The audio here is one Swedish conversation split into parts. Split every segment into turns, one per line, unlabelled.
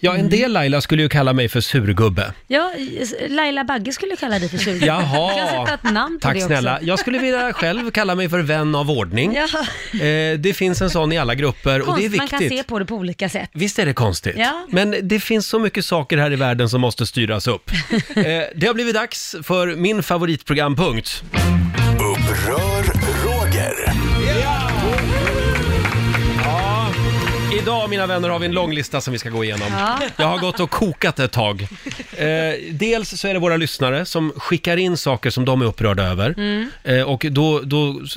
Ja,
Mm.
en del Laila skulle ju kalla mig för surgubbe.
Ja, Laila Bagge skulle kalla dig för surgubbe.
Jaha.
Du kan sätta ett namn på
Tack
det också.
snälla. Jag skulle vilja själv kalla mig för vän av ordning.
Ja.
Eh, det finns en sån i alla grupper och det är
Konst, man kan se
viktigt.
på det på olika sätt.
Visst är det konstigt?
Ja.
Men det finns så mycket saker här i världen som måste styras upp. Eh, det har blivit dags för min favoritprogrampunkt.
Upprör Roger.
Idag, mina vänner, har vi en lång lista som vi ska gå igenom.
Ja.
Jag har gått och kokat ett tag. Eh, dels så är det våra lyssnare som skickar in saker som de är upprörda över.
Mm.
Eh, och då, då s- s-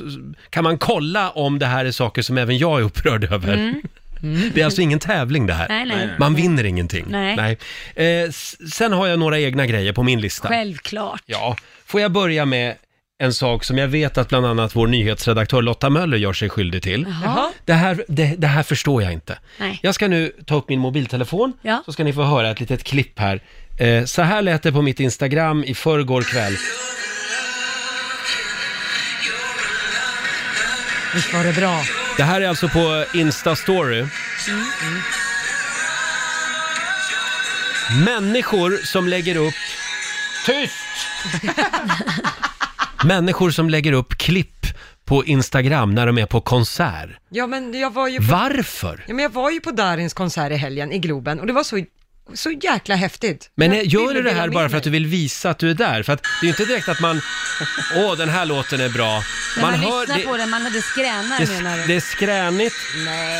kan man kolla om det här är saker som även jag är upprörd över. Det är alltså ingen tävling det här.
Mm. Nej, nej.
Man vinner ingenting.
Nej.
Eh, s- sen har jag några egna grejer på min lista.
Självklart.
Ja, får jag börja med en sak som jag vet att bland annat vår nyhetsredaktör Lotta Möller gör sig skyldig till.
Jaha.
Det här, det, det här förstår jag inte.
Nej.
Jag ska nu ta upp min mobiltelefon,
Ja.
så ska ni få höra ett litet klipp här. Eh, så här lät det på mitt Instagram i förrgår kväll.
Visst var det bra?
Det här är alltså på Insta-story. Människor som lägger upp... Tyst! Människor som lägger upp klipp på Instagram när de är på konsert.
Ja men jag var ju på,
Varför?
ja, men jag var ju på Darins konsert i helgen i Globen och det var så, så jäkla häftigt.
Men eh,
Jag
gör
ville
du det
dela
här
med
bara för att du
mig.
vill visa att du är där? För att det är ju inte direkt att man, åh den här låten är bra.
Men man, lyssnar
det,
på den, man hade skränar menar
det,
du?
det är skränigt,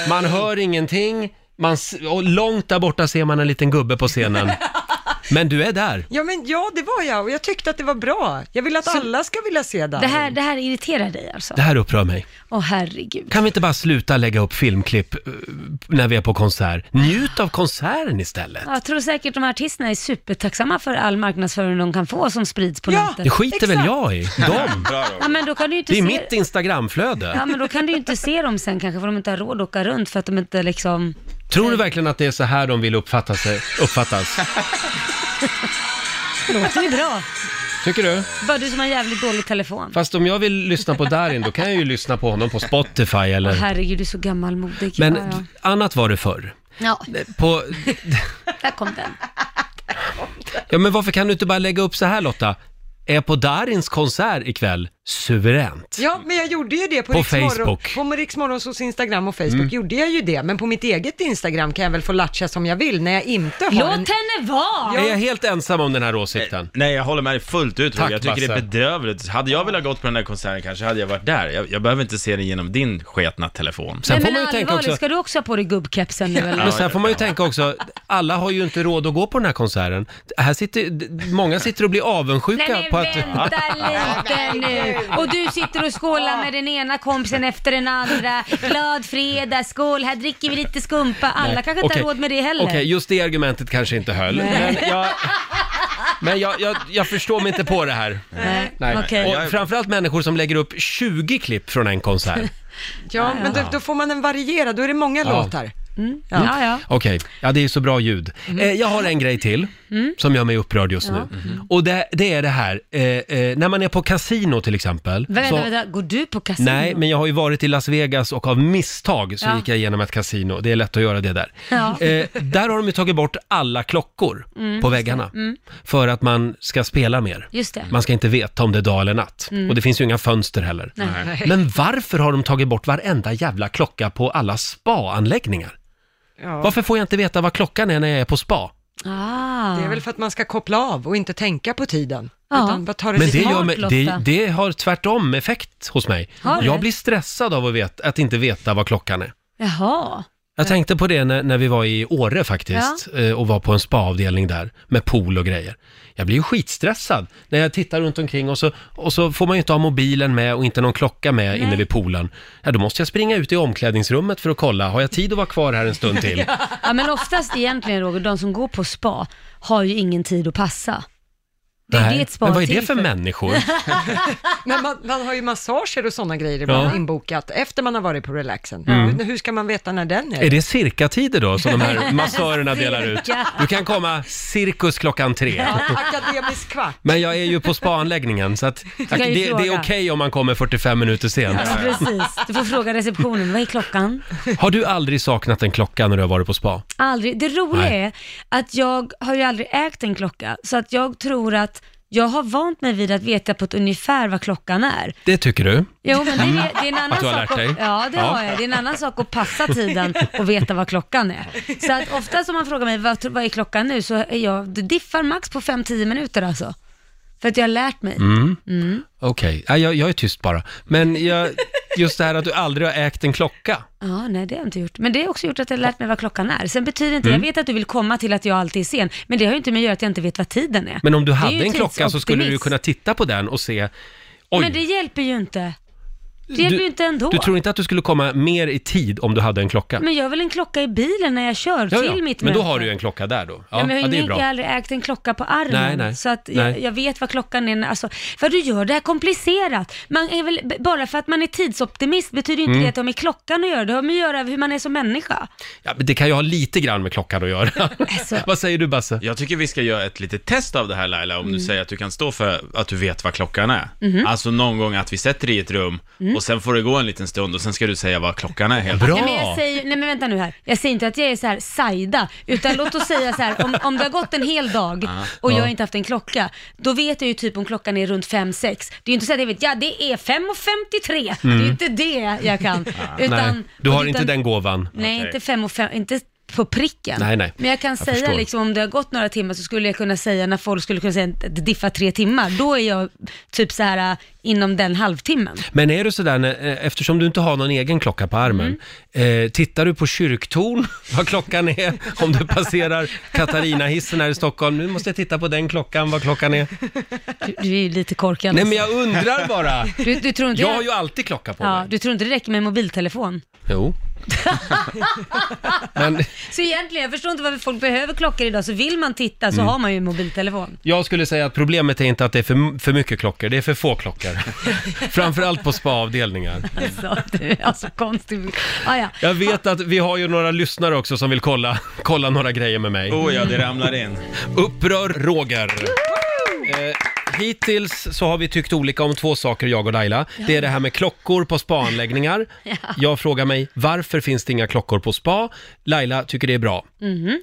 man hör ingenting, man, s- och långt där borta ser man en liten gubbe på scenen. Men du är där.
Ja men ja, det var jag och jag tyckte att det var bra. Jag vill att alla ska vilja se Darin.
Det här, det här irriterar dig alltså?
Det här upprör mig.
Åh herregud.
Kan vi inte bara sluta lägga upp filmklipp eh, när vi är på konsert? Njut av konserten istället.
Jag tror säkert de här artisterna är supertacksamma för all marknadsföring de kan få som sprids på
Ja.
Det
nätet.
skiter väl
Exakt.
jag i. De.
Ja, men då kan du ju inte
Det är
se...
mitt
Ja,
Instagramflöde.
men då kan du ju inte se dem sen kanske, för de inte har råd att åka runt för att de inte liksom...
Tror du verkligen att det är så här de vill uppfatta sig, uppfattas?
Det låter ju bra.
Tycker du?
Bara du som har en jävligt dålig telefon.
Fast om jag vill lyssna på Darin, då kan jag ju lyssna på honom på Spotify
Åh
eller...
herregud, du är så gammalmodig.
Men
ja,
annat var det förr.
ja. ja,
På...
där kom den.
Ja, men varför kan du inte bara lägga upp så här Lotta? Är på Darins konsert ikväll, suveränt.
Ja, men jag gjorde ju det på,
På
Rix Morgon-
Facebook. Mm.
På Rix Morgonzos Instagram och Facebook gjorde jag ju det, men på mitt eget Instagram kan jag väl få latcha som jag vill när jag inte har
Låt
en...
henne vara!
Är jag helt ensam om den här åsikten?
Nej, jag håller med dig fullt ut.
Tack,
Roger. jag tycker det är
Basse.
bedrövligt. Hade jag velat gått på den där konserten kanske hade jag varit där. Jag, jag behöver inte se den genom din sketna telefon.
Sen får
Nej, men
man ju tänka
allvarligt,
också...
ska du också ha på dig gubbkepsen nu eller?
Men sen får man ju tänka också, alla har ju inte råd att gå på den här konserten. Här sitter, d- många sitter och blir avundsjuka
Nej
på
men
att...
vänta lite nu! Och du sitter och skålar med den ena kompisen efter den andra. Glad fredag, skål, här dricker vi lite skumpa. Alla kanske inte
Okej.
har råd med det heller.
Okej, just det argumentet kanske inte höll. Men, jag, men jag, jag, jag förstår mig inte på det här.
Nej.
Nej.
Okej.
Och framförallt människor som lägger upp 20 klipp från en konsert.
Ja, men då, då får man en varierad, då är det många låtar.
Ja, ja. Mm.
Okej, ja det är så bra ljud. Eh, jag har en grej till som gör mig upprörd just nu.
Mm-hmm.
Och det, det är det här, eh, eh, när man är på kasino till exempel.
Vänta,
så-
vänta, går du på kasino?
Nej, men jag har ju varit i Las Vegas och av misstag så
Ja.
gick jag igenom ett kasino. Det är lätt att göra det där.
Ja. Mm.
Eh, där har de ju tagit bort alla klockor på väggarna. För att man ska spela mer.
Just det.
Man ska inte veta om det är dag eller natt. Och det finns ju inga fönster heller.
Mm. Nej.
Men varför har de tagit bort varenda jävla klocka på alla spa-anläggningar?
Ja.
Varför får jag inte veta vad klockan är när jag är på spa?
Ah.
Det är väl för att man ska koppla av och inte tänka på tiden.
Ja.
Utan bara ta det
Men
lite
det, gör
Smart,
mig,
Lotta.
det, det har tvärtom effekt hos mig.
Har det?
Jag blir stressad av att, veta, att inte veta vad klockan är.
Jaha.
Jag tänkte på det när, när vi var i Åre faktiskt eh, och var på en spaavdelning där med pool och grejer. Jag blir ju skitstressad när jag tittar runt omkring och så, och så får man ju inte ha mobilen med och inte någon klocka med inne vid poolen. Ja, då måste jag springa ut i omklädningsrummet för att kolla, har jag tid att vara kvar här en stund till?
Ja men oftast egentligen Roger, de som går på spa har ju ingen tid att passa. Det är det ett spa
men vad är det
till
för människor?
Men man, man har ju massager och sådana grejer ibland
Ja. Mm.
inbokat efter man har varit på relaxen. Hur, hur ska man veta när den är?
Är det cirkatider då som de här massörerna delar ut? Du kan komma cirkus klockan tre.
Akademisk kvart.
Men jag är ju på spaanläggningen så att det,
kan ju
det är okej
fråga.
om man kommer 45 minuter sent.
Ja, precis. Du får fråga receptionen, vad är klockan?
Har du aldrig saknat en klocka när du har varit på spa?
Aldrig. Det roliga
Nej.
är att jag har ju aldrig ägt en klocka, så att jag tror att jag har vant mig vid att veta på ett ungefär vad klockan är.
Det tycker du?
Jo, men det, är- det är en annan
Mm. Att du har
sak
lärt
att-
dig?
Ja, det
Ja.
har jag. Det är en annan sak att passa tiden och veta vad klockan är. Så att ofta som man frågar mig, vad, tro- vad är klockan nu? Så är jag, det diffar max på 5-10 minuter alltså. För att jag har lärt mig.
Okej, Nej, jag, jag är tyst bara. Men jag, just det här att du aldrig har ägt en klocka.
Ja, nej det har jag inte gjort. Men det har också gjort att jag har lärt mig vad klockan är. Sen betyder inte,
Mm.
jag vet att du vill komma till att jag alltid är sen, men det har ju inte med att göra att jag inte vet vad tiden är.
Men om du
Det är ju
hade en klocka så skulle du ju
tidsoptimism.
kunna titta på den och se Oj,
Men det hjälper ju inte. Det hjälper
du,
ju inte ändå.
du tror inte att du skulle komma mer i tid om du hade en klocka?
Men jag har väl en klocka i bilen när jag kör
Ja, ja.
till mitt
Men då
möte.
har du ju en klocka där då. Ja,
Ja, men jag,
ja,
har
det
ju
är
jag har
bra.
aldrig ägt en klocka på armen,
Nej, nej.
så att jag,
Nej.
jag vet vad klockan är. när- Alltså, för du gör det här komplicerat. Man är väl, b- bara för att man är tidsoptimist betyder ju inte
Mm.
det att det har med klockan att göra. Det har med att göra hur man är som människa.
Ja, men det kan ju ha lite grann med klockan att göra.
Alltså.
Vad säger du Basse?
Jag tycker vi ska göra ett litet test av det här Laila, om du säger att du kan stå för att du vet vad klockan är. Alltså någon gång att vi sätter dig i ett rum och sen får det gå en liten stund och sen ska du säga vad klockan är helt
Nej, men jag
Bra!
säger, nej men vänta nu här. Jag säger inte att jag är så här sajda, utan låt oss säga så här, om, om det har gått en hel dag
Ah.
och jag har inte haft en klocka, då vet jag ju typ om klockan är runt 5-6. Det är ju inte så att jag vet, ja det är 5.53, det är ju inte det jag kan. Utan,
Mm. Ah, Nej, du har
utan-
inte den gåvan.
Nej,
Okej.
inte fem och fem, inte på pricken.
Nej, nej.
Men jag kan
Jag
säga
förstår.
liksom, om det har gått några timmar så skulle jag kunna säga när folk skulle kunna säga att det diffar tre timmar, då är jag typ så här äh, inom den halvtimmen.
Men är du sådär, när- eh, eftersom du inte har någon egen klocka på armen,
Mm.
eh, tittar du på kyrktorn, vad klockan är, om du passerar Katarina-hissen här i Stockholm? Nu måste jag titta på den klockan, vad klockan är.
Du, du är ju lite korkad.
Nej, men jag undrar bara.
du, du tror inte
Jag
det-
har ju alltid klocka på
Ja,
mig.
du tror inte det räcker med mobiltelefon?
Jo. Men
Så egentligen, jag förstår inte varför folk behöver klockor idag, så vill man titta så
Mm.
har man ju mobiltelefon.
jag skulle säga att problemet är inte att det är för, för mycket klockor, det är för få klockor. Framförallt på spaavdelningar.
Alltså, du är alltså konstig. Ah, ja.
Jag vet att vi har ju några lyssnare också som vill kolla, kolla några grejer med mig.
Oh ja, det ramlar in.
Upprör Roger. Eh, hittills så har vi tyckt olika om två saker, jag och Laila. Det är det här med klockor på spaanläggningar. Jag frågar mig, varför finns det inga klockor på spa? Laila tycker det är bra.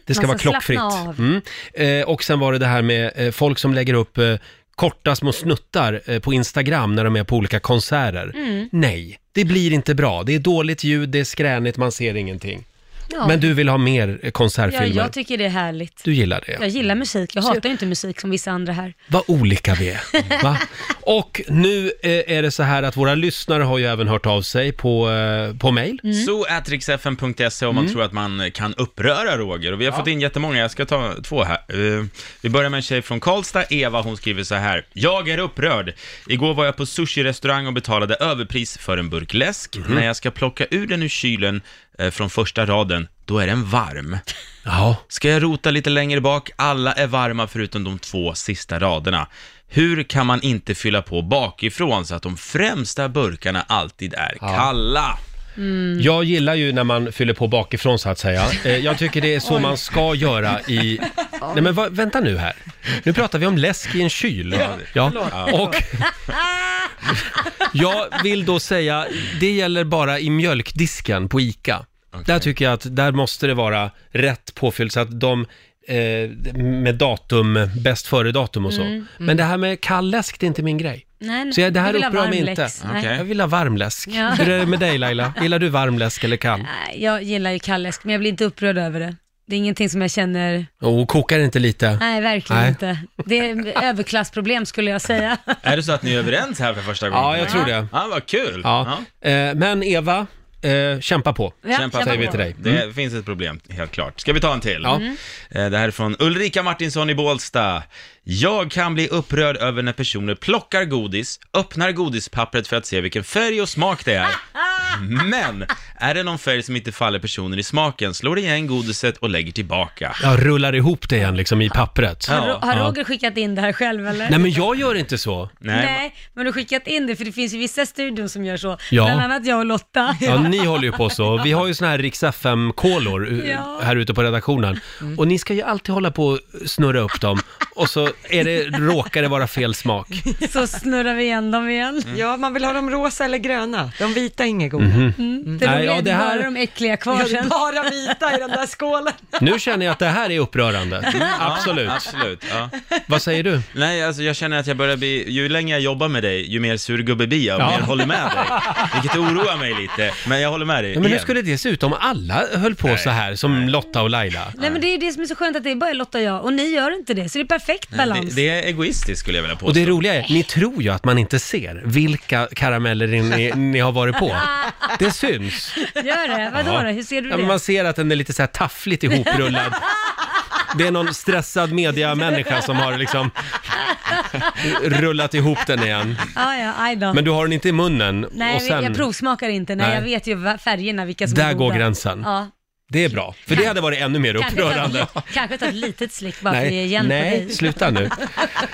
Det ska
Mhm. man
vara
ska
klockfritt.
slappna av.
Mm. Eh, och sen var det det här med eh, folk som lägger upp eh, korta små snuttar eh, på Instagram när de är på olika konserter.
Mm.
Nej, det blir inte bra. Det är dåligt ljud, det är skränigt, man ser ingenting.
Ja.
Men du vill ha mer eh,
ja,
konsertfilmer?
jag tycker det är härligt.
du gillar det?
Jag gillar musik, jag hatar ju inte musik som vissa andra här.
Vad olika vi är. Va? Och nu eh, är det så här att våra lyssnare har ju även hört av sig på, eh, på mail.
So at riksfm.se om man tror att man kan uppröra Roger. Och vi har fått in jättemånga, jag ska ta två här. Eh, vi börjar med en tjej från Karlstad, Eva, hon skriver så här. Jag är upprörd. Igår var jag på sushi-restaurang och betalade överpris för en burk läsk. När jag ska plocka ur den ur kylen eh, från första raden, då är den varm.
Ja.
Ska jag rota lite längre bak? Alla är varma förutom de två sista raderna. Hur kan man inte fylla på bakifrån så att de främsta burkarna alltid är kalla?
Mm.
Jag gillar ju när man fyller på bakifrån så att säga. Eh, jag tycker det är så man ska göra i... Nej men va, vänta nu här. Nu pratar vi om läsk i en kyl. Ja. Och... Jag vill då säga, det gäller bara i mjölkdisken på ICA. Där tycker jag att där måste det vara rätt påfylld så att de eh, med datum, bäst före datum och så.
Mm,
Men det här med kall läsk, det är inte min grej.
Nej, nej.
Så jag, det här
Du vill ha
upprör mig
varm
inte.
läx. Nej.
Okej.
Jag vill ha varm läsk.
Ja.
Hur är det med dig Laila? Gillar du varm läsk eller kall?
Nej, jag gillar ju kalläsk, men jag blir inte upprörd över det. Det är ingenting som jag känner,
Oh, kokar det inte lite?
nej verkligen
Nej.
inte. Det är överklassproblem skulle jag säga.
Är det så att ni är överens här för första gången?
Ja, jag tror det.
Ja, vad kul!
Ja. Eh, men Eva, eh, kämpa på.
Ja,
Kämpa
kämpa
på.
säger vi till dig. Mm.
Det finns ett problem, helt klart. Ska vi ta en till?
Ja.
Eh, Det här är från Ulrika Martinsson i Bålsta. Jag kan bli upprörd över när personer plockar godis, öppnar godispappret för att se vilken färg och smak det är, Men, är det någon färg som inte faller personen i smaken, slår igen godiset och lägger tillbaka.
Jag rullar ihop det igen liksom i pappret.
Har, Ro- har
Ja.
Roger skickat in det här själv eller?
Nej men jag gör inte så.
Nej.
Nej, men du har skickat in det för det finns ju vissa studion som gör så.
Ja.
Bland annat jag och Lotta.
Ja, ni håller ju på så. Vi har ju såna här Rix FM-kolor eh,
Ja.
här ute på redaktionen. Och ni ska ju alltid hålla på och snurra upp dem. Och så är det, råkar det vara fel smak.
Så snurrar vi igen dem igen.
Ja, man vill ha de rosa eller gröna. De vita är inget goda.
Det
Mm. Nej,
roliga
ja,
är att
det här-
bara de äckliga
Ja,
kvar
det är
sen.
bara vita i den där skålen.
Nu känner jag att det här är upprörande. Absolut.
Ja, absolut. Ja.
Vad säger du?
Nej, alltså jag känner att jag börjar bli, ju längre jag jobbar med dig, ju mer surgubbe blir jag och
Ja.
mer håller med dig. Vilket oroar mig lite, men jag håller med dig.
Ja, men hur
igen.
skulle det se ut om alla höll på så här som Lotta och Laila?
Nej men det är ju det som är så skönt att det är bara Lotta och jag och ni gör inte det så det är perfekt
det,
balans.
det är egoistiskt skulle jag vilja påstå.
Och det roliga är, ni tror ju att man inte ser vilka karameller ni, ni har varit på. Det syns.
Gör det? Vadå då? Hur ser du
Ja,
det?
men man ser att den är lite så här taffligt ihoprullad. Det är någon stressad mediamänniska som har liksom rullat ihop den igen.
Ja, ja, aj då.
Men du har den inte i munnen.
Nej,
och sen,
jag provsmakar inte. Nej,
Nej.
jag vet ju va- färgerna, vilka som
Där
är
går
goda.
gränsen.
Ja.
Det är bra, för det hade varit ännu mer
Kanske ta,
upprörande.
ett li- kanske ta ett litet slick bara för att ge
Nej,
igen på
nej
dig.
sluta nu.